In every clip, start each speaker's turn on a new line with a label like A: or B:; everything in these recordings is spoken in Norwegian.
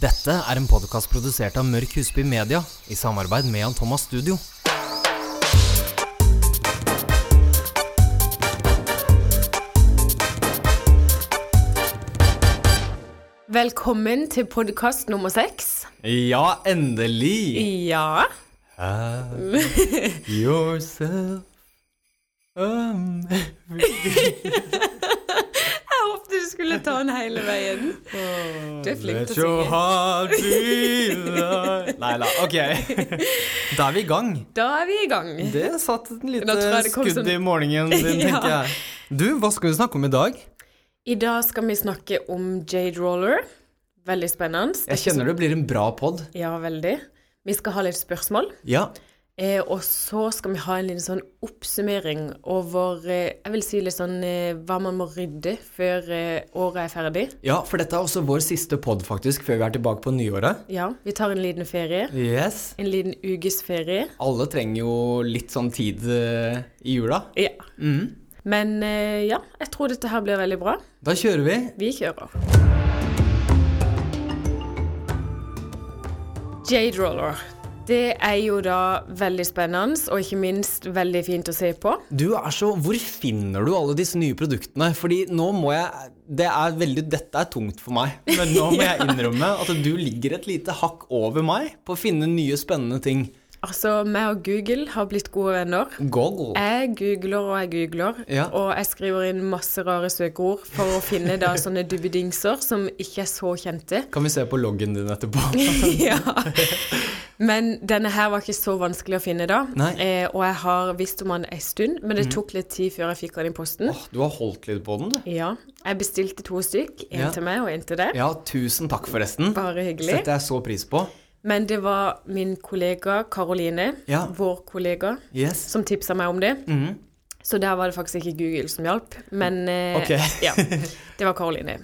A: Dette er en podkast produsert av Mørk Husby Media i samarbeid med Jan Thomas Studio.
B: Velkommen til podkast nummer seks.
A: Ja, endelig!
B: Ja.
A: Yourself um.
B: Jeg håpet du skulle ta den hele veien. Du er flink
A: Let
B: til å
A: your
B: synge.
A: heart be there. Nei da, ok. Da er vi i gang.
B: Da er vi i gang.
A: Det satt et
B: Da tror
A: lite
B: jeg det kom
A: skudd
B: som-
A: i morgenen din,
B: Ja.
A: tenker jeg. Du, hva skal vi snakke om i dag?
B: I dag skal vi snakke om Jade Roller. Veldig spennende.
A: Jeg kjenner det blir en bra pod.
B: Ja, veldig. Vi skal ha litt spørsmål.
A: Ja.
B: Eh, og så skal vi ha en liten sånn oppsummering over eh, Jeg vil si litt sånn eh, hva man må rydde før eh, året er ferdig.
A: ja, for dette er også vår siste pod, faktisk, før vi er tilbake på nyåret.
B: Ja, vi tar en liten ferie.
A: Yes.
B: En liten ukes ferie.
A: Alle trenger jo litt sånn tid eh, i jula.
B: Ja. Mm. Men eh, ja, jeg tror dette her blir veldig bra.
A: Da kjører vi.
B: Vi kjører. Jade Roller. Det er jo da veldig spennende, og ikke minst veldig fint å se på.
A: Du er så Hvor finner du alle disse nye produktene? Fordi nå må jeg Det er veldig Dette er tungt for meg. Men nå må jeg innrømme at du ligger et lite hakk over meg på å finne nye, spennende ting.
B: Altså, meg og Google har blitt gode venner.
A: Goggle.
B: Jeg googler og jeg googler,
A: Ja.
B: og jeg skriver inn masse rare søkeord for å finne da sånne dubbedingser som ikke er så kjente.
A: Kan vi se på loggen din etterpå?
B: ja. Men denne her var ikke så vanskelig å finne da.
A: Nei. Mm.
B: Eh, og jeg har visst om han en stund, men det tok litt tid før jeg fikk han i posten.
A: Åh, du har holdt litt på den, du.
B: Ja. Jeg bestilte to stykk. En
A: Ja.
B: til meg og en til deg.
A: Ja, tusen takk, forresten.
B: Bare hyggelig.
A: Setter jeg så pris på.
B: Men det var min kollega Karoline,
A: Ja. Mhm.
B: vår kollega,
A: Yes.
B: som tipsa meg om det. Så der var det faktisk ikke Google som hjalp, men eh,
A: Ok.
B: ja, det var Karoline.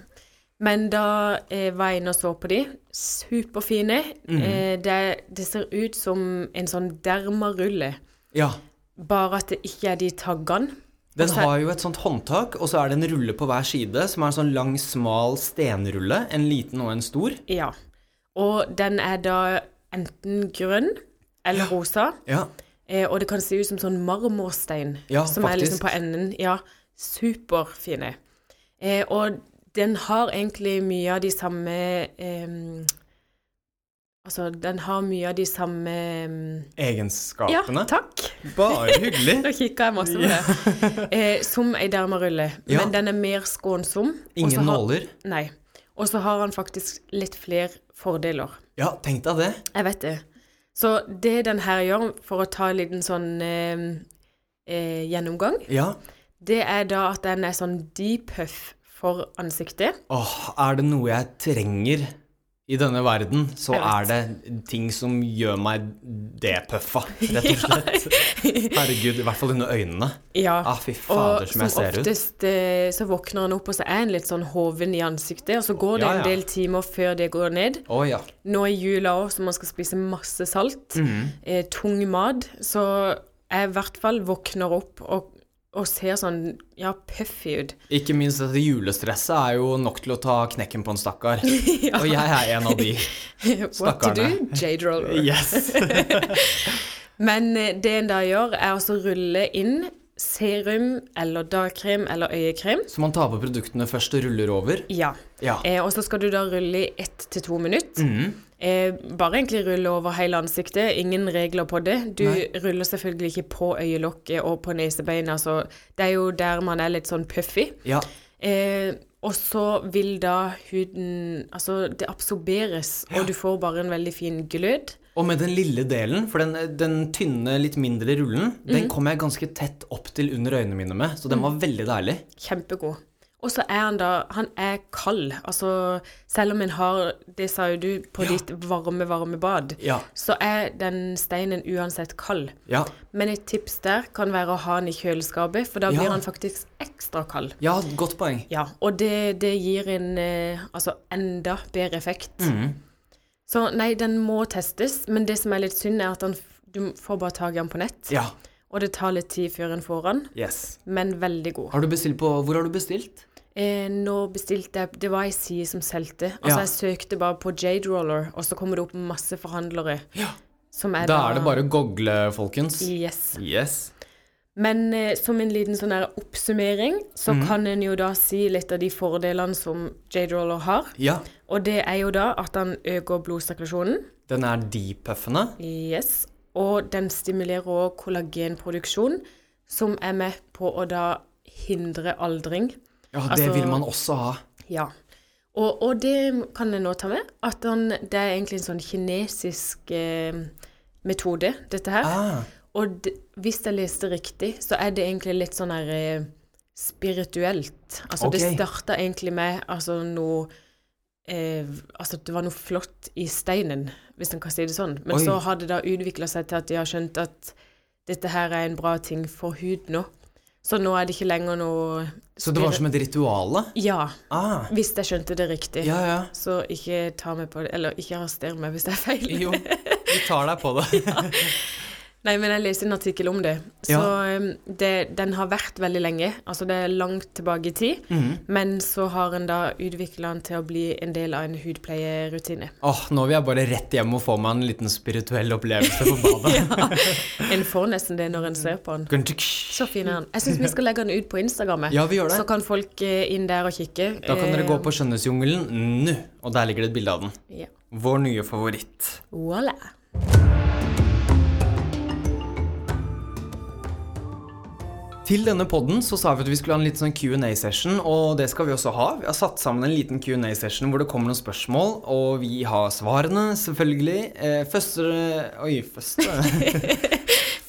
B: Men da eh, var jeg inne og så på de. Superfine.
A: Mhm.
B: Eh, det, det ser ut som en sånn dermarulle,
A: Ja.
B: bare at det ikke er de taggene.
A: Den
B: Og så-
A: har jo et sånt håndtak, og så er det en rulle på hver side, som er en sånn lang, smal stenrulle. En liten og en stor.
B: Ja. Og den er da enten grønn eller rosa.
A: Ja.
B: Eh, og det kan se ut som sånn marmorstein
A: Ja,
B: som er liksom
A: faktisk.
B: på enden. Ja, superfine. Eh, og den har egentlig mye av de samme ehm, Altså, den har mye av de samme ehm, Ja,
A: Egenskapene.
B: takk!
A: Bare hyggelig.
B: Nå kikka jeg masse på det. Eh, som ei dermarulle,
A: Ja.
B: men den er mer skånsom. og så
A: Ingen
B: har-
A: nåler.
B: Nei. Og så har han faktisk litt flere fordeler.
A: Ja, tenk deg det.
B: Jeg vet det. Så det den her gjør, for å ta en liten sånn eh, eh, gjennomgang,
A: Ja.
B: det er da at den er sånn deep huff for ansiktet.
A: Åh, er det noe jeg trenger i denne verden, så
B: Jeg
A: er
B: vet.
A: det ting som gjør meg depuffa, rett og slett. Herregud, i hvert fall under øynene.
B: Ja.
A: Ah, fy fader,
B: og
A: som jeg ser ut.
B: oftest eh, så våkner han opp, og så er han litt sånn hoven i ansiktet, og så går det
A: Ja, ja.
B: en del timer før det går ned.
A: Å ja.
B: Nå i jula òg, så man skal spise masse salt,
A: Mhm.
B: eh, tung mat, så jeg i hvert fall våkner opp og, og ser sånn, ja, puffy ut.
A: Ikke minst dette julestresset er jo nok til å ta knekken på en stakkar. Og jeg er en av de.
B: What to do,
A: Stakkarene.
B: Jade Roller.
A: Yes.
B: Men eh, det en da gjør, er altså rulle inn serum eller dagkrem eller øyekrem.
A: Så man tar på produktene først og ruller over.
B: Ja.
A: Ja.
B: Eh, og så skal du da rulle i ett til to minutter. Eh, bare egentlig rulle over hele ansiktet. Ingen regler på det. Du
A: Nei.
B: ruller selvfølgelig ikke på øyelokket og på nesebeina, så det er jo der man er litt sånn puffy.
A: Ja.
B: Eh, og så vil da huden Altså, det absorberes, og du får bare en veldig fin glød.
A: Og med den lille delen, for den, den tynne, litt mindre rullen, den kom jeg ganske tett opp til under øynene mine med, så den var veldig deilig.
B: Kjempegod. Og så er han da Han er kald. Altså, selv om en har Det sa jo du på ditt varme, varme bad.
A: Ja.
B: Så er den steinen uansett kald.
A: Ja,
B: Men et tips der kan være å ha den i kjøleskapet, for da
A: Ja.
B: blir han faktisk ekstra kald.
A: ja godt poeng.
B: Ja, og det, det gir en eh, altså enda bedre effekt. Så nei, den må testes, men det som er litt synd, er at han, f- du får bare tak i den på nett.
A: Ja.
B: Og det tar litt tid før en får den,
A: Yes.
B: men veldig god.
A: Har du bestilt på Hvor har du bestilt?
B: Eh, nå bestilte jeg Det var ei side som solgte. Altså,
A: Ja.
B: jeg søkte bare på Jade Roller, og så kommer det opp masse forhandlere. Som er
A: Da er det bare å gogle, folkens.
B: Yes.
A: Yes.
B: Men eh, som en liten sånn her oppsummering, så
A: Mhm.
B: kan en jo da si litt av de fordelene som Jade Roller har.
A: Ja.
B: Og det er jo da at den øker blodsirkulasjonen.
A: Den er depuffende.
B: Yes. Og den stimulerer òg kollagenproduksjon, som er med på å da hindre aldring.
A: Ja, det
B: Altså-
A: vil man også ha.
B: Ja. Og, og det kan jeg nå ta med, at han, det er egentlig en sånn kinesisk eh, metode, dette her.
A: Ah,
B: Og d hvis jeg leste riktig, så er det egentlig litt sånn her eh, spirituelt. Altså, det
A: Ok.
B: starta egentlig med altså noe eh, Altså, det var noe flott i steinen, hvis en kan si det sånn. Men
A: Oi.
B: så har det da utvikla seg til at de har skjønt at dette her er en bra ting for hud nå. Så nå er det ikke lenger noe
A: så det var som et rituale?
B: Ja,
A: Ah,
B: hvis jeg skjønte det riktig.
A: ja, ja.
B: Så ikke ta meg på det, eller ikke arrester meg hvis det er feil.
A: Jo, vi tar deg på det.
B: Nei, men jeg leste en artikkel om det. Så
A: Ja.
B: um, det, den har vært veldig lenge, altså det er langt tilbake i tid.
A: Mhm.
B: Men så har en da utvikla den til å bli en del av en hudpleierutine.
A: Åh, nå vil jeg bare rett hjem og få meg en liten spirituell opplevelse på badet.
B: En får nesten det når en ser på den. Så fin er den. Jeg syns vi skal legge den ut på Instagram.
A: Ja, vi gjør det.
B: Så kan Eh. folk eh, inn der og kikke.
A: Da kan dere gå på Skjønnhetsjungelen nå, og der ligger det et bilde av den.
B: Ja.
A: Vår nye favoritt.
B: Voilà.
A: Til denne podden så sa vi at vi skulle ha en liten sånn Q&A-session, og det skal vi også ha. Vi har satt sammen en liten Q&A-session hvor det kommer noen spørsmål, og vi har svarene, selvfølgelig. Eh, første Oi, første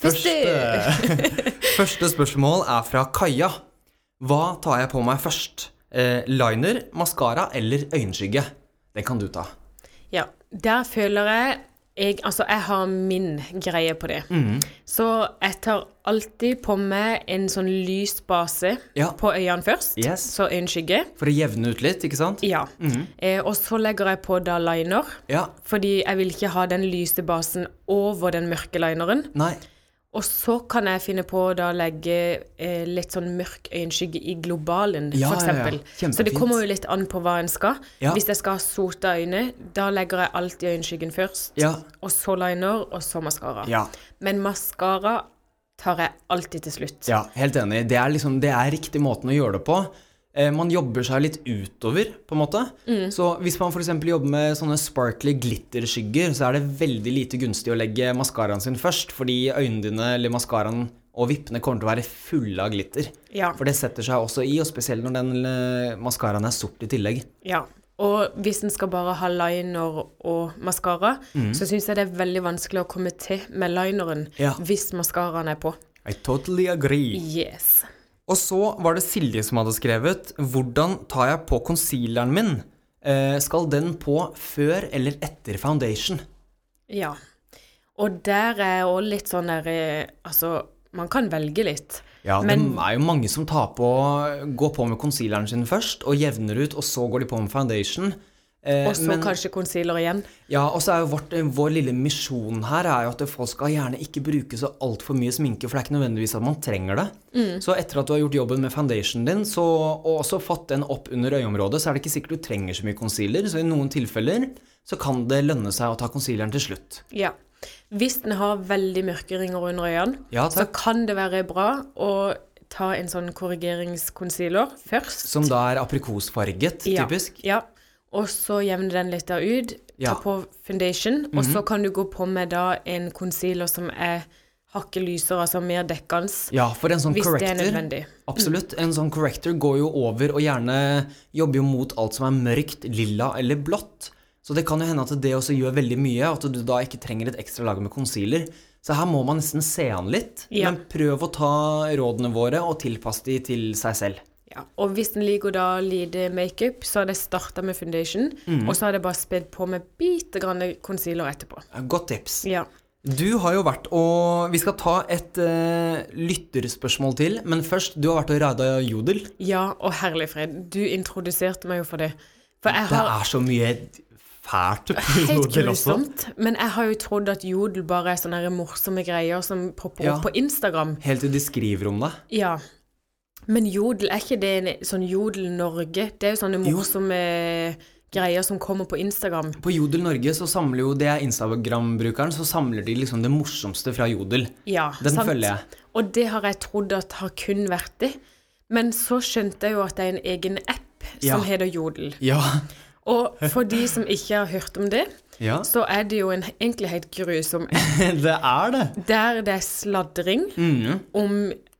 A: Første, første spørsmål er fra Kaja. Hva tar jeg på meg først? Eh, liner, maskara eller øyenskygge? Den kan du ta.
B: Ja, der føler jeg, jeg Altså, jeg har min greie på det.
A: Mm.
B: Så jeg tar alltid på meg en sånn lys base
A: Ja.
B: på øynene først,
A: Yes.
B: så øyenskygge.
A: For å jevne ut litt, ikke sant?
B: Ja. Eh, og så legger jeg på da liner,
A: Ja.
B: fordi jeg vil ikke ha den lyse basen over den mørke lineren.
A: Nei.
B: Og så kan jeg finne på å da legge eh, litt sånn mørk øyenskygge i globalen,
A: Ja, ja, ja.
B: for eksempel.
A: Kjempefint.
B: Så det kommer jo litt an på hva en skal.
A: Ja.
B: Hvis jeg skal ha sota øyne, da legger jeg alltid øyenskyggen først.
A: Ja.
B: Og så liner, og så maskara.
A: Ja.
B: Men maskara tar jeg alltid til slutt.
A: Ja, helt enig. Det er, liksom, det er riktig måten å gjøre det på. Eh, man jobber seg litt utover, på en måte. Så hvis man f.eks. jobber med sånne sparkly glitterskygger, så er det veldig lite gunstig å legge maskaraen sin først, fordi øynene dine eller maskaraen og vippene kommer til å være fulle av glitter.
B: Ja.
A: For det setter seg også i, og spesielt når den eh, maskaraen er sort i tillegg.
B: Ja. Og hvis en skal bare ha liner og maskara, så syns jeg det er veldig vanskelig å komme til med lineren
A: Mm. Ja.
B: hvis maskaraen er på.
A: I totally agree.
B: Yes.
A: Og så var det Silje som hadde skrevet Hvordan tar jeg på concealeren min? Eh, skal den på før eller etter foundation?
B: Ja. Og der er jeg òg litt sånn der eh, Altså, man kan velge litt.
A: Ja,
B: Men-
A: det er jo mange som tar på, går på med concealeren sin først, og jevner ut, og så går de på med foundation. Eh,
B: Og så kanskje concealer igjen.
A: ja, og så er jo vårt, eh, vår lille misjon her er jo at folk skal gjerne ikke bruke så altfor mye sminke, for det er ikke nødvendigvis at man trenger det. Så etter at du har gjort jobben med foundationen din, så, og også fått den opp under øyeområdet, så er det ikke sikkert du trenger så mye concealer, så i noen tilfeller så kan det lønne seg å ta concealeren til slutt.
B: Ja. Hvis den har veldig mørke ringer under øynene,
A: Ja,
B: så
A: takk.
B: kan det være bra å ta en sånn korrigeringsconcealer først.
A: Som da er aprikosfarget,
B: Ja,
A: typisk.
B: Ja. Og så jevne den litt da ut.
A: Ja. Mhm.
B: Ta på foundation. Og så kan du gå på med da en concealer som er hakket lysere, altså mer dekkende.
A: Ja, for en sånn
B: Hvis det er
A: corrector
B: nødvendig. Mm.
A: Absolutt. En sånn corrector går jo over og gjerne jobber jo mot alt som er mørkt, lilla eller blått. Så det kan jo hende at det også gjør veldig mye, og at du da ikke trenger et ekstra lag med concealer. Så her må man nesten se an litt,
B: Ja.
A: men prøv å ta rådene våre og tilpasse de til seg selv.
B: Ja. Og hvis den liker da lite makeup, så har det starta med foundation,
A: Mhm.
B: og så har det bare spedd på med bitte grann concealer etterpå.
A: Godt tips.
B: Ja.
A: Du har jo vært og Vi skal ta et eh, lytterspørsmål til, men først, du har vært og raida Jodel.
B: ja, og herlig fred, du introduserte meg jo for det. For jeg
A: Det
B: har
A: er så mye fælt på
B: Helt
A: Jodel også.
B: grusomt. Men jeg har jo trodd at jodel bare er sånne her morsomme greier som popper
A: Ja.
B: opp på Instagram.
A: Helt til de skriver om det.
B: Ja. Men jodel, er ikke det en sånn Jodel Norge? Det er jo sånne morsomme greier som kommer på Instagram.
A: På Jodel Norge så samler jo det er Instagram-brukeren, så samler de liksom det morsomste fra Jodel.
B: Ja,
A: Den følger jeg.
B: Og det har jeg trodd at har kun vært det. Men så skjønte jeg jo at det er en egen app
A: Ja.
B: som heter Jodel.
A: Ja.
B: Og for de som ikke har hørt om det,
A: ja.
B: så er det jo en egentlig helt grusom app.
A: Det er det.
B: Der det er sladring om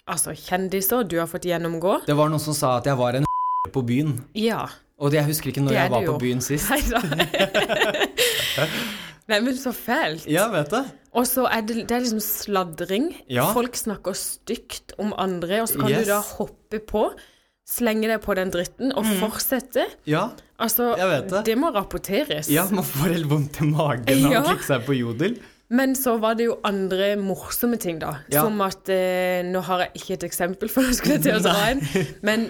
B: altså, kjendiser du har fått gjennomgå.
A: Mm. Det var noen som sa at jeg var en på byen.
B: Ja.
A: Og det- jeg husker ikke når
B: Det er
A: jeg var
B: du
A: på
B: jo.
A: byen sist.
B: Nei da. Nei, men så fælt.
A: Ja, vet du.
B: Og så er det, det er liksom sladring.
A: Ja.
B: Folk snakker stygt om andre, og så kan
A: Yes.
B: du da hoppe på, slenge deg på den dritten og fortsette.
A: Ja,
B: Altså,
A: Jeg vet det.
B: må rapporteres.
A: ja, man får helt vondt i magen av
B: Ja.
A: å klikke seg på Jodel.
B: Men så var det jo andre morsomme ting, da.
A: Ja.
B: Som at eh, Nå har jeg ikke et eksempel, for nå skulle jeg til å dra en. Men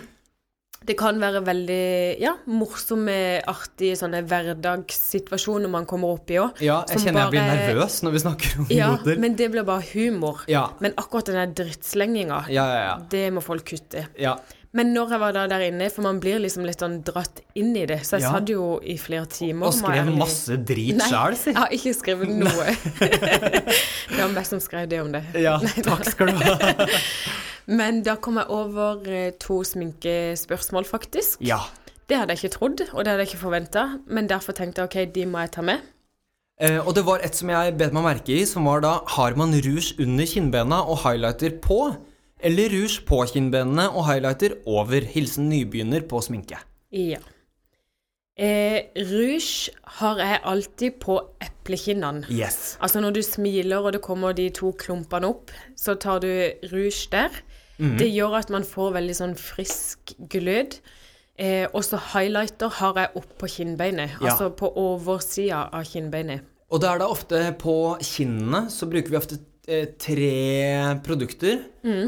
B: det kan være veldig ja, morsomme, artige sånne hverdagssituasjoner man kommer opp i òg.
A: Ja, jeg
B: Som
A: kjenner jeg blir
B: bare-
A: nervøs når vi snakker om
B: Ja,
A: Jodel.
B: men det blir bare humor.
A: Ja.
B: Men akkurat den der drittslenginga,
A: Ja, ja, ja.
B: det må folk kutte.
A: Ja.
B: Men når jeg var da der inne, for man blir liksom litt sånn dratt inn i det, så jeg
A: Ja.
B: satt jo i flere timer.
A: Og
B: må
A: skrev
B: jeg ærlig-
A: masse drit
B: Nei,
A: sjæl, si.
B: jeg har ikke skrevet noe. det var meg som skrev det om det.
A: Ja, takk skal du ha.
B: Men da kom jeg over eh, to sminkespørsmål, faktisk.
A: Ja.
B: Det hadde jeg ikke trodd, og det hadde jeg ikke forventa, men derfor tenkte jeg ok, de må jeg ta med.
A: Eh, og det var et som jeg bet meg merke i, som var da Har man rouge under kinnbena og highlighter på? Eller rouge på kinnbenene og highlighter over? Hilsen nybegynner på sminke.
B: Ja. Eh, rouge har jeg alltid på eplekinnene.
A: Yes.
B: Altså når du smiler og det kommer de to klumpene opp, så tar du rouge der.
A: Mhm.
B: Det gjør at man får veldig sånn frisk glød. Eh, og så highlighter har jeg opp på kinnbeinet,
A: Ja.
B: altså på oversida av kinnbeinet.
A: Og da er det ofte på kinnene så bruker vi ofte eh, tre produkter.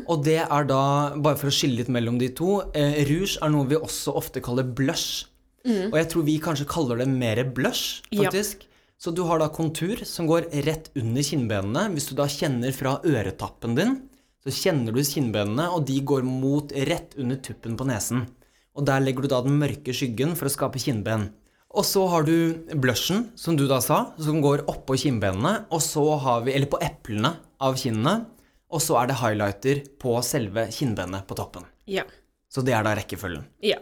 A: Og det er da, bare for å skille litt mellom de to, eh, rouge er noe vi også ofte kaller blush. Og jeg tror vi kanskje kaller det mer blush,
B: Ja.
A: faktisk. Så du har da kontur som går rett under kinnbenene. Hvis du da kjenner fra øretappen din, så kjenner du kinnbenene, og de går mot rett under tuppen på nesen. Og der legger du da den mørke skyggen for å skape kinnben. Og så har du blushen, som du da sa, som går oppå kinnbenene, og så har vi Eller på eplene av kinnene. Og så er det highlighter på selve kinnbenet på toppen.
B: Ja.
A: Så det er da rekkefølgen.
B: ja.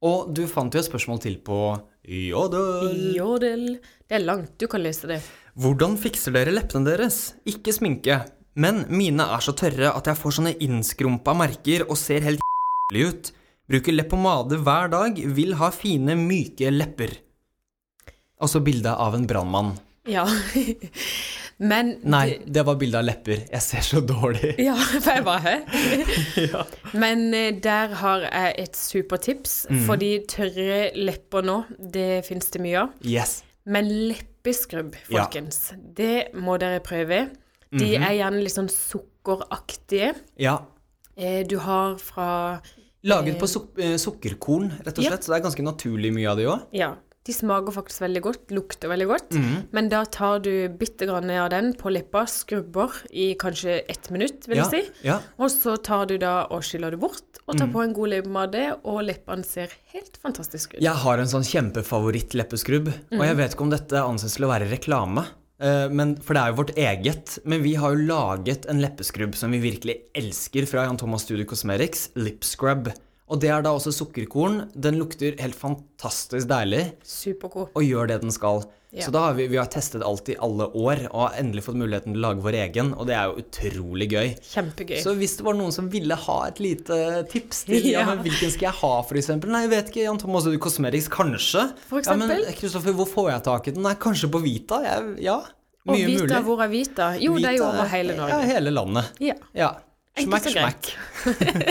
A: Og du fant jo et spørsmål til på Jodel.
B: Jodel. Det er langt, du kan lese det.
A: Hvordan fikser dere leppene deres? Ikke sminke. Men mine er så tørre at jeg får sånne innskrumpa merker og ser helt jævlig ut. Bruker leppepomade hver dag, vil ha fine, myke lepper. Og så bilde av en brannmann.
B: Ja. Men
A: Nei, det var bilde av lepper. Jeg ser så dårlig.
B: Ja, for jeg bare Hæ? Men eh, der har jeg et supertips.
A: Mhm.
B: Fordi tørre lepper nå, det fins det mye av.
A: Yes.
B: Men leppeskrubb,
A: Ja. Mhm.
B: folkens, det må dere prøve. De er gjerne litt sånn sukkeraktige.
A: Ja.
B: Eh, Du har fra
A: Laget på suk eh, sukkerkorn, rett og
B: Ja.
A: slett. Så det er ganske naturlig mye av det òg.
B: Ja. De smaker faktisk veldig godt, lukter veldig godt.
A: Mhm.
B: Men da tar du bitte grann av den på leppa, skrubber i kanskje ett minutt, vil
A: Ja.
B: jeg si.
A: ja. Mhm.
B: Og så tar du da og skyller det bort, og tar på en god leppepomade, og leppene ser helt fantastisk ut.
A: Jeg har en sånn kjempefavoritt-leppeskrubb, og jeg vet ikke om dette anses til å være reklame, eh, men, for det er jo vårt eget. Men vi har jo laget en leppeskrubb som vi virkelig elsker fra Jan Thomas Studio Cosmetics, Lip Scrub. Og det er da også sukkerkorn. Den lukter helt fantastisk deilig
B: Supergod.
A: og gjør det den skal.
B: Ja.
A: Så da har vi, vi har testet alt i alle år og har endelig fått muligheten til å lage vår egen, og det er jo utrolig gøy.
B: Kjempegøy.
A: Så hvis det var noen som ville ha et lite tips til ja.
B: Ja.
A: men hvilken skal jeg ha, f.eks. Nei, jeg vet ikke. Jan Thomas du, Cosmetics, kanskje.
B: For
A: ja, men
B: eksempel?
A: Kristoffer, hvor får jeg tak i den? Nei, kanskje på Vita? Jeg, ja.
B: og
A: Mye
B: Vita,
A: mulig.
B: hvor er Vita? Jo, det er jo over hele Norge.
A: Ja, hele landet.
B: Ja.
A: Ja.
B: Enkelt
A: Smack,
B: og
A: smack.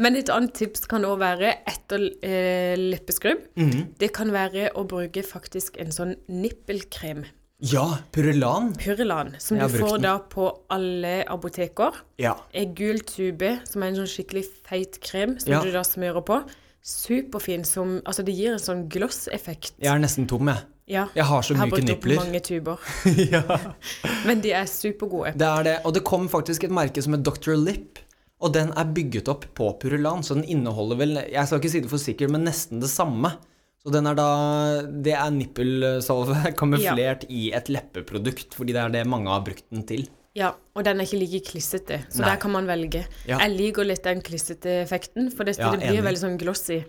B: Men et annet tips kan òg være etter eh, leppeskrubb.
A: Mhm.
B: Det kan være å bruke faktisk en sånn nippelkrem,
A: Ja, Purelan.
B: Purrelan, som
A: Jeg
B: du
A: har brukt
B: får
A: den.
B: da på alle apoteker.
A: Ja.
B: En gul tube, som er en sånn skikkelig feit krem, som
A: Ja.
B: du da smører på. Superfin som Altså, det gir en sånn gloss-effekt.
A: Jeg er nesten tom, jeg.
B: Ja.
A: Jeg har så myke nipler.
B: Jeg har brukt opp mange tuber. Men de er supergode.
A: Det er det. Og det kom faktisk et merke som het Dr. Lip. Og den er bygget opp på purulan, så den inneholder vel Jeg skal ikke si det for sikkert, men nesten det samme. Så den er da Det er nippelsalve kamuflert i et leppeprodukt, fordi det er det mange har brukt den til.
B: Ja, og den er ikke like klissete, så
A: Nei.
B: der kan man velge.
A: Ja.
B: Jeg liker litt den klissete effekten, for det,
A: Ja,
B: det blir
A: enig. Mm.
B: veldig sånn glossy.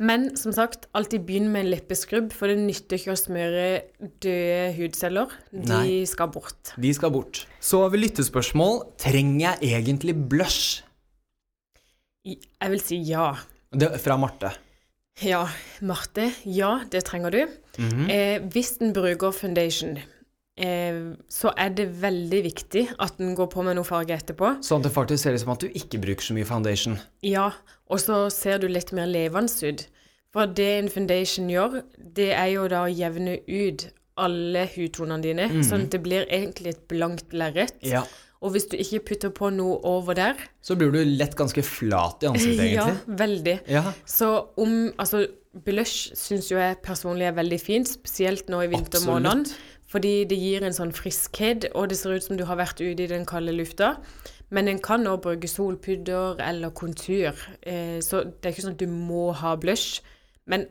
B: Men som sagt, alltid begynn med en leppeskrubb, for det nytter ikke å smøre døde hudceller. De
A: Nei.
B: skal bort.
A: De skal bort. Så har vi lyttespørsmål. Trenger jeg egentlig blush?
B: I- Jeg vil si ja.
A: Det er fra Marte.
B: Ja, Marte. Ja, det trenger du.
A: Mhm.
B: eh, hvis en bruker foundation, eh, så er det veldig viktig at en går på med noe farge etterpå.
A: Sånn at det faktisk ser ut som at du ikke bruker så mye foundation.
B: Ja, og så ser du litt mer levende ut. For det en foundation gjør, det er jo da å jevne ut alle hudtonene dine, sånn at det blir egentlig et blankt lerret.
A: Mm. Ja.
B: Og hvis du ikke putter på noe over der
A: Så blir du lett ganske flat i ansiktet,
B: Ja,
A: egentlig.
B: veldig.
A: Ja.
B: Så om Altså, blush syns jo jeg personlig er veldig fint, spesielt nå i vintermånedene. Fordi det gir en sånn friskhet, og det ser ut som du har vært ute i den kalde lufta. Men en kan òg bruke solpudder eller kontur. Eh, så det er ikke sånn at du må ha blush. Men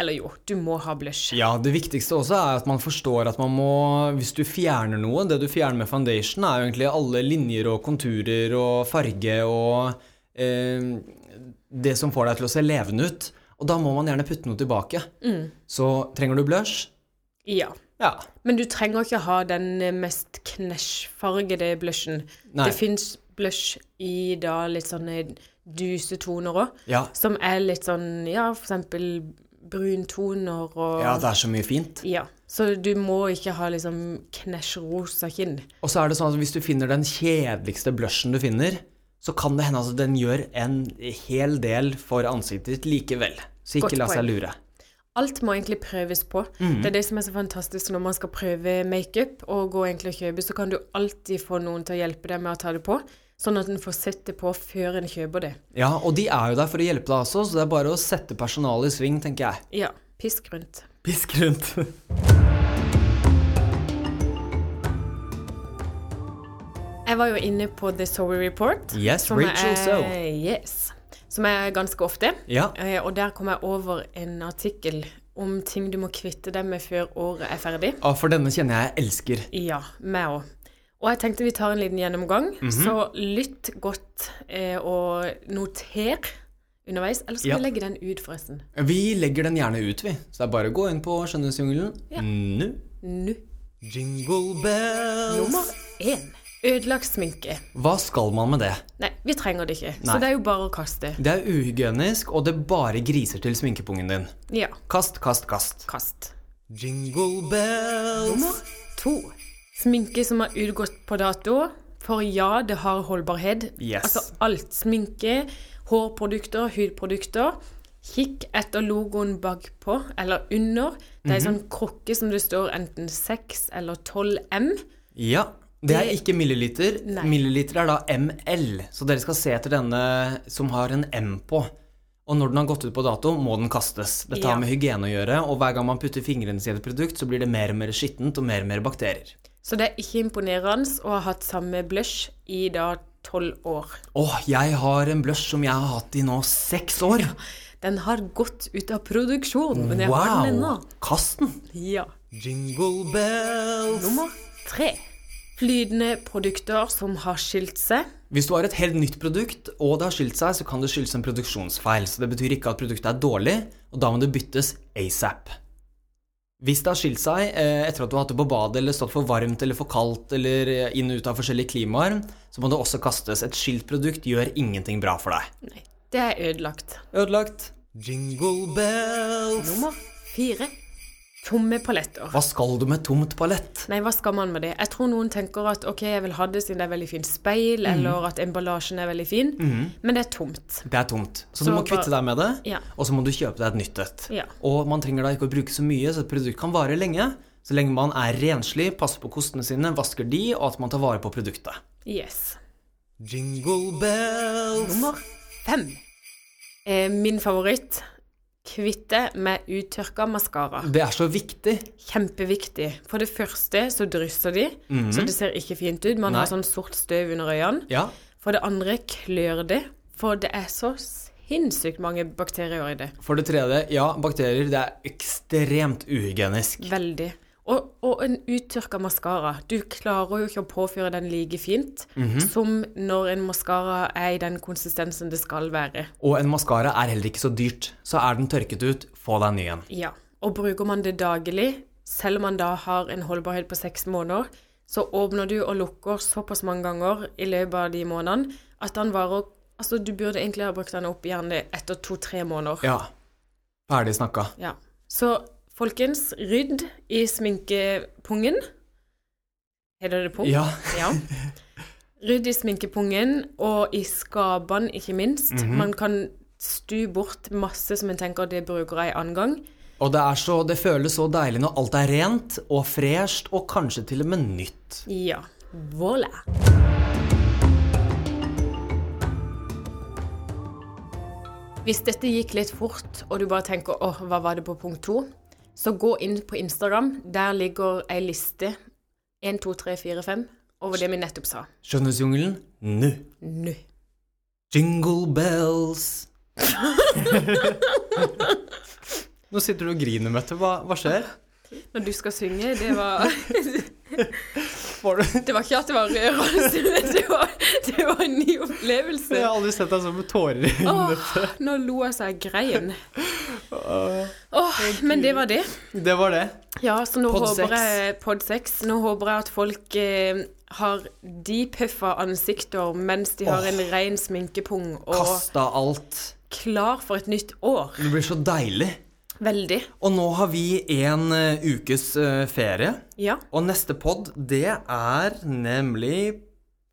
B: Eller jo, du må ha blush.
A: Ja, det viktigste også er at man forstår at man må Hvis du fjerner noe Det du fjerner med foundation, er jo egentlig alle linjer og konturer og farge og eh, det som får deg til å se levende ut. Og da må man gjerne putte noe tilbake. Så trenger du blush?
B: Mm. Ja.
A: Ja.
B: Men du trenger ikke ha den mest knæsjfargede blushen.
A: Nei.
B: Det fins blush i da litt sånne duse toner òg.
A: Ja,
B: Som er litt sånn, ja, for eksempel bruntoner og
A: ja det er så mye fint.
B: Ja. Så du må ikke ha liksom knæsjrosa kinn.
A: Og så er det sånn at hvis du finner den kjedeligste blushen du finner, så kan det hende at den gjør en hel del for ansiktet ditt likevel. Så
B: Godt
A: ikke la seg
B: poeng.
A: lure.
B: Alt må egentlig prøves på.
A: Mhm.
B: Det er det som er så fantastisk når man skal prøve makeup og gå egentlig og kjøpe, så kan du alltid få noen til å hjelpe deg med å ta det på, sånn at en får sett det på før en kjøper det.
A: Ja, og de er jo der for å hjelpe deg også, så det er bare å sette personalet i sving, tenker jeg.
B: Ja. Pisk rundt.
A: Pisk rundt.
B: Jeg var jo inne på The Sorry Report.
A: Yes,
B: som
A: Rachel
B: er,
A: Zoe.
B: Yes. Som er ganske ofte.
A: Ja.
B: Eh, Og der kom jeg over en artikkel om ting du må kvitte deg med før året er ferdig.
A: Å, for denne kjenner jeg elsker.
B: Ja, meg òg. Og jeg tenkte vi tar en liten gjennomgang.
A: Mhm.
B: Så lytt godt eh, og noter underveis. Eller
A: Ja.
B: skal vi legge den ut, forresten?
A: Vi legger den gjerne ut, vi. Så det er bare å gå inn på Skjønnhetsjungelen nå.
B: Nå.
A: Jingle bells.
B: Nummer én. Ødelagt sminke.
A: Hva skal man med det?
B: Nei, vi trenger det ikke.
A: Nei.
B: Så det er jo bare å kaste.
A: Det er uhygienisk, og det bare griser til sminkepungen din.
B: Ja,
A: Kast, kast, kast.
B: kast.
A: Jingle bells.
B: Nummer to. Sminke som er utgått på dato. For ja, det har holdbarhet.
A: Yes.
B: Altså alt. Sminke, hårprodukter, hudprodukter. Kikk etter logoen bakpå eller under. Det er ei sånn krukke som det står enten 6 eller 12 M.
A: Ja. Det er ikke milliliter.
B: Nei.
A: Milliliter er da ml, så dere skal se etter denne som har en m på. Og når den har gått ut på dato, må den kastes. Dette
B: Ja.
A: har med hygiene å gjøre, og hver gang man putter fingrene sine i et produkt, så blir det mer og mer skittent og mer og mer bakterier.
B: Så det er ikke imponerende å ha hatt samme blush i da 12 år.
A: Åh, jeg har en blush som jeg har hatt i nå seks år!
B: Den har gått ut av produksjon, men jeg har den ennå.
A: Kast den!
B: Ja.
A: Jingle bells.
B: Nummer tre. Flytende produkter som har skilt seg.
A: Hvis du har et helt nytt produkt, og det har skilt seg, så kan det skyldes en produksjonsfeil. Så det betyr ikke at produktet er dårlig, og da må det byttes asap. Hvis det har skilt seg eh, etter at du har hatt det på badet, eller stått for varmt eller for kaldt, eller eh, inn og ut av forskjellige klimaer, så må det også kastes. Et skilt produkt gjør ingenting bra for deg.
B: Nei, det er ødelagt.
A: Ødelagt. Jingle bells.
B: Nummer fire. Tomme paletter.
A: Hva skal du med tomt palett?
B: Nei, hva skal man med det? Jeg tror noen tenker at ok, jeg vil ha det siden det er veldig fint speil, eller at emballasjen er veldig fin, men det er tomt.
A: Det er tomt. Så,
B: Så
A: du må
B: bare-
A: kvitte deg med det,
B: Ja.
A: og så må du kjøpe deg et nytt et.
B: Ja.
A: Og man trenger da ikke å bruke så mye, så et produkt kan vare lenge. Så lenge man er renslig, passer på kostene sine, vasker de, og at man tar vare på produktet.
B: Yes.
A: Jingle bells.
B: Nummer fem. Eh, min favoritt. Kvitte med uttørka maskara.
A: Det er så viktig.
B: Kjempeviktig. For Mhm. det første så drysser de, så det ser ikke fint ut. Man
A: Nei.
B: har sånn sort støv under øynene.
A: Ja.
B: For det andre klør det, for det er så sinnssykt mange bakterier i det.
A: For det tredje, ja, bakterier. Det er ekstremt uhygienisk.
B: Veldig. Og, og en uttørka maskara. Du klarer jo ikke å påføre den like fint som når en maskara er i den konsistensen det skal være.
A: Og en maskara er heller ikke så dyrt. Så er den tørket ut, få deg en ny en.
B: Ja. Og bruker man det daglig, selv om man da har en holdbarhet på seks måneder, så åpner du og lukker såpass mange ganger i løpet av de månedene at den varer Altså, du burde egentlig ha brukt den opp gjerne etter to-tre måneder.
A: Ja. Ferdig snakka.
B: Ja. Så folkens, rydd i sminkepungen. Heter det pung?
A: Ja.
B: Ja. Rydd i sminkepungen og i skapene, ikke minst. Man kan stu bort masse som en tenker det bruker jeg en annen gang.
A: Og det, er så, det føles så deilig når alt er rent og fresht, og kanskje til og med nytt.
B: Ja. Voilà. Hvis dette gikk litt fort, og du bare tenker åh, hva var det på punkt to? Så gå inn på Instagram. Der ligger ei liste 1, 2, 3, 4, 5 over det vi nettopp sa.
A: Skjønnhetsjungelen nå.
B: Nå.
A: Jingle bells. Nå sitter du og griner, Mette. Hva, hva skjer?
B: Når du skal synge, det var
A: Var du...
B: Det var ikke at det var rørende, det var, det var en ny opplevelse.
A: Jeg har aldri sett deg sånn med tårer i øynene.
B: Åh, nå lo jeg så jeg grein. Åh, men det var det.
A: Det var det.
B: Ja, så nå
A: Pod
B: håper
A: seks.
B: jeg Pod 6. Nå håper jeg at folk eh, har depuffa ansikter mens de har
A: Åh.
B: en ren sminkepung og
A: Kasta alt.
B: klar for et nytt år.
A: Det blir så deilig.
B: Veldig.
A: Og nå har vi en eh, ukes eh, ferie.
B: Ja.
A: Og neste pod, det er nemlig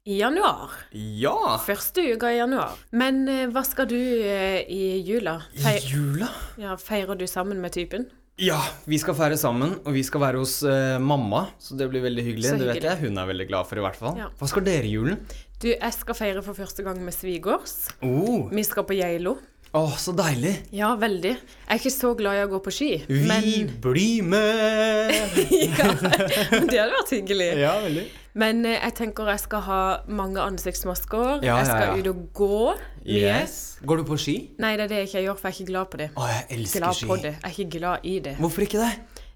B: I januar.
A: Ja!
B: Første uka i januar. Men eh, hva skal du eh, i jula? Fei
A: Jula.
B: ja, feirer du sammen med typen?
A: Ja, vi skal feire sammen, og vi skal være hos eh, mamma. Så det blir veldig hyggelig.
B: Så
A: Det vet
B: hyggelig.
A: jeg hun er veldig glad for, i hvert fall.
B: Ja.
A: Hva skal dere i julen?
B: Du, jeg skal feire for første gang med svigers.
A: Å, oh.
B: Vi skal på Geilo.
A: så deilig!
B: Ja, veldig. Jeg er ikke så glad i å gå på ski,
A: Vi
B: men
A: blir med!
B: ja, Det hadde vært hyggelig.
A: ja, veldig.
B: Men eh, jeg tenker jeg skal ha mange ansiktsmasker.
A: Ja, ja,
B: jeg skal
A: ja.
B: ut og gå mye.
A: Går du på ski?
B: Nei, det er det jeg ikke gjør, for jeg er ikke glad på det.
A: Å, jeg elsker
B: Glad på
A: ski.
B: det. Jeg er ikke glad i det.
A: Hvorfor ikke det?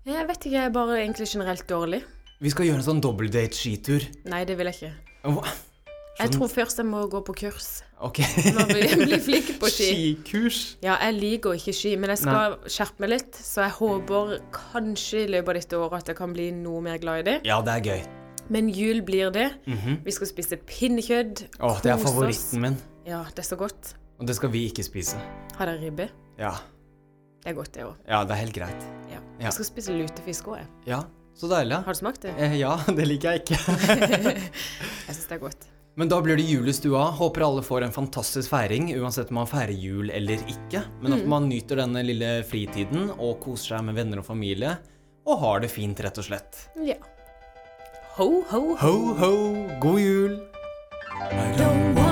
B: Jeg vet ikke, jeg er bare egentlig generelt dårlig.
A: Vi skal gjøre en sånn dobbeltdate-skitur.
B: Nei, det vil jeg ikke.
A: Hva? Sånn.
B: Jeg tror først jeg må gå på kurs.
A: Ok.
B: Må bli, bli flink på ski.
A: Skikurs.
B: Ja, jeg liker ikke ski, men jeg skal skjerpe meg litt. Så jeg håper kanskje i løpet av dette året at jeg kan bli noe mer glad i det.
A: Ja, det er gøy.
B: Men jul blir det. Vi skal spise pinnekjøtt.
A: Å, Mhm. det er
B: kose oss.
A: favoritten min.
B: Ja, det er så godt.
A: Og det skal vi ikke spise.
B: Har dere ribbe?
A: Ja.
B: Det er godt, det òg.
A: Ja, det er helt greit.
B: Ja.
A: Ja.
B: Jeg skal spise lutefisk òg, jeg.
A: Ja, så deilig.
B: Har du smakt det?
A: Eh, ja, det liker jeg ikke.
B: Jeg syns det er godt.
A: Men da blir det jul i stua. Håper alle får en fantastisk feiring, uansett om man feirer jul eller ikke. Men at man nyter denne lille fritiden og koser seg med venner og familie. Og har det fint, rett og slett.
B: Ja. Ho, ho, ho.
A: Ho, ho, god jul!
C: Don't